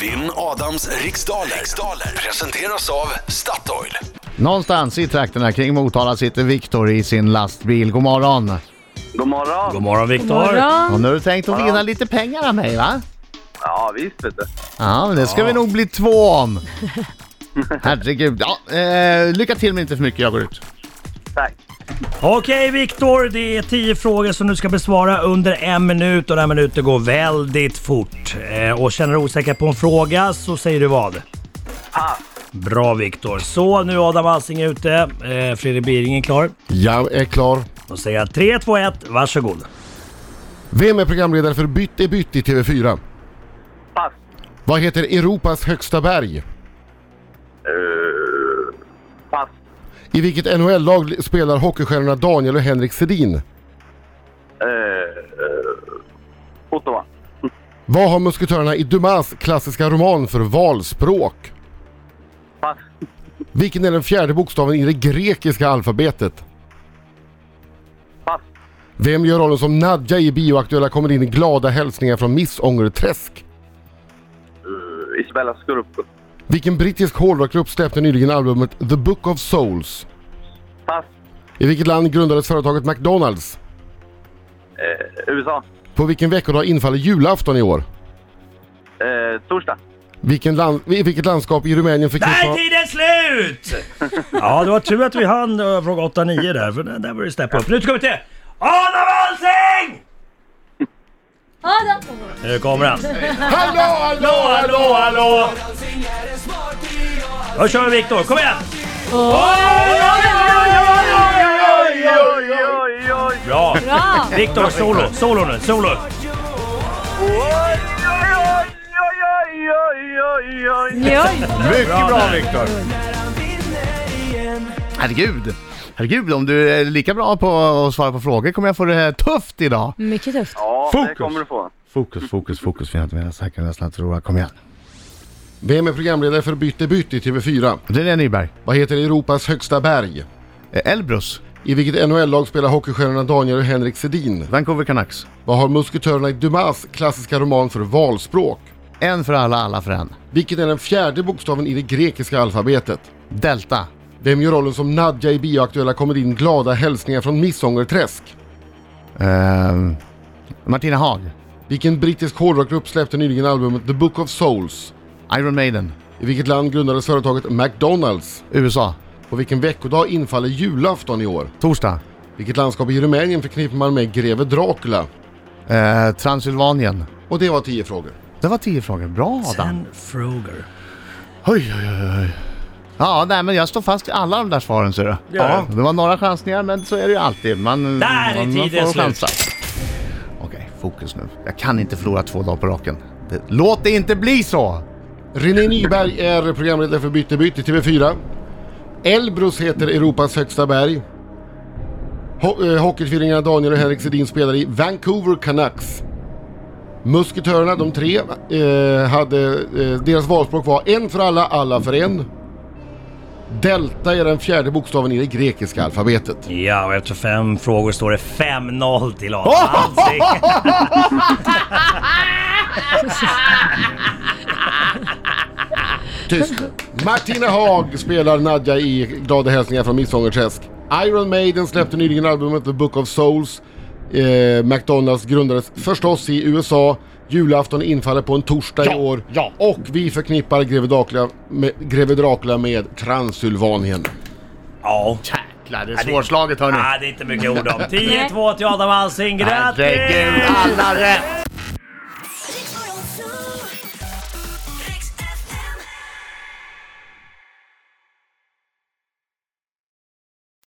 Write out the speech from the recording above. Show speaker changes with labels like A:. A: Vinn Adams riksdaler. riksdaler presenteras av Statoil.
B: Någonstans i trakterna kring Motala sitter Viktor i sin lastbil. God morgon.
C: God morgon!
D: God morgon Viktor!
B: Och
E: Morgon.
B: nu har du tänkt att vinna lite pengar av mig va?
C: Ja, visst vet du.
B: Ja, men det ska vi nog bli två om. Herregud. Ja, eh, lycka till men inte för mycket, jag går ut.
C: Tack.
D: Okej Viktor, det är 10 frågor som du ska besvara under en minut och den här minuten går väldigt fort. Eh, och känner du dig osäker på en fråga så säger du vad?
C: Pass.
D: Bra Viktor. Så nu är Adam Alsing ute. Eh, Fredrik Biring är klar.
F: Jag är klar.
D: Då säger jag 3, 2, 1, varsågod.
F: Vem är programledare för Bytt är bytt i TV4?
C: Pass.
F: Vad heter Europas högsta berg?
C: Eh, pass.
F: I vilket NHL-lag spelar hockeystjärnorna Daniel och Henrik Sedin?
C: Eh, eh, Ottawa.
F: Vad har musketörerna i Dumas klassiska roman för valspråk?
C: Pass.
F: Vilken är den fjärde bokstaven i det grekiska alfabetet?
C: Pass.
F: Vem gör rollen som Nadja i Bioaktuella kommer in i glada hälsningar från Missångerträsk?
C: Eh, Isabella Scorupco.
F: Vilken brittisk hårdrockgrupp släppte nyligen albumet The Book of Souls?
C: Pass.
F: I vilket land grundades företaget McDonalds?
C: Eh, USA.
F: På vilken veckodag infaller julafton i år?
C: Eh, torsdag.
F: Vilken land, I vilket landskap i Rumänien fick
D: Där är tiden slut! Ja, det var tur att vi hann eh, fråga 8, 9 där, för där där var det step upp. Nu ska vi till Adam Alsing!
E: Adam!
D: Nu kommer han.
F: Hallå, hallå,
D: Hallå, hallå! Då kör vi Viktor, kom igen!
C: Oj, oj, oj!
D: Bra!
E: Bra!
D: Viktor, solo, solo nu, solo!
C: Oj, oj, oj, oj, oj, oj, oj!
E: Oj.
B: Mycket bra,
D: där.
B: Viktor. Herregud. Herregud, om du är lika bra på att svara på frågor kommer jag få det här tufft idag.
E: Mycket tufft.
C: Ja, det
B: Fokus.
C: kommer du få.
B: Fokus, fokus, fokus. Fina att vända säkra nästan tror Kom igen.
F: Vem är programledare för Bytt är bytt i TV4?
B: René Nyberg.
F: Vad heter Europas högsta berg?
B: Eh, Elbrus.
F: I vilket NHL-lag spelar hockeystjärnorna Daniel och Henrik Sedin?
B: Vancouver Canucks.
F: Vad har musketörerna i Dumas klassiska roman för valspråk?
B: En för alla, alla för en.
F: Vilken är den fjärde bokstaven i det grekiska alfabetet?
B: Delta.
F: Vem gör rollen som Nadja i bioaktuella komedin Glada hälsningar från Missångerträsk?
B: Ehm, Martina Haag.
F: Vilken brittisk hårdrockgrupp släppte nyligen albumet The Book of Souls?
B: Iron Maiden.
F: I vilket land grundades företaget McDonalds?
B: USA.
F: På vilken veckodag infaller julafton i år?
B: Torsdag.
F: Vilket landskap i Rumänien förknippar man med greve Dracula?
B: Eh, Transylvanien.
F: Och det var tio frågor.
B: Det var tio frågor. Bra Adam!
D: Sen Froger.
B: Oj, oj, oj, oj. Ja, nej, men jag står fast i alla de där svaren ser du. Ja, det var några chansningar, men så är det ju alltid. Man,
D: Där är
B: man, man
D: tiden
B: får
D: slut.
B: chansa. Okej, fokus nu. Jag kan inte förlora två dagar på raken. Det, låt det inte bli så!
F: René Nyberg är programledare för Bytte Bytt i TV4. Elbrus heter Europas högsta berg. Ho- eh, Hockeytvillingarna Daniel och Henrik Sedin spelar i Vancouver Canucks. Musketörerna, de tre, eh, hade, eh, deras valspråk var en för alla, alla för en. Delta är den fjärde bokstaven i det grekiska alfabetet.
D: Ja, och efter fem frågor står det 5-0 till Adam Alsing.
F: Tyst. Martina Haag spelar Nadja i Glada hälsningar från Midsommarträsk. Iron Maiden släppte nyligen albumet The Book of Souls. Eh, McDonalds grundades förstås i USA. Julafton infaller på en torsdag i år.
B: ja.
F: Och vi förknippar Greve Dracula med, Greve Dracula med Transylvanien.
D: Ja.
B: Jäklar, det är svårslaget hörni.
D: Ah, det är inte mycket ord om. 10-2 till Adam Alsing. Grattis!
B: Herregud, alla rätt!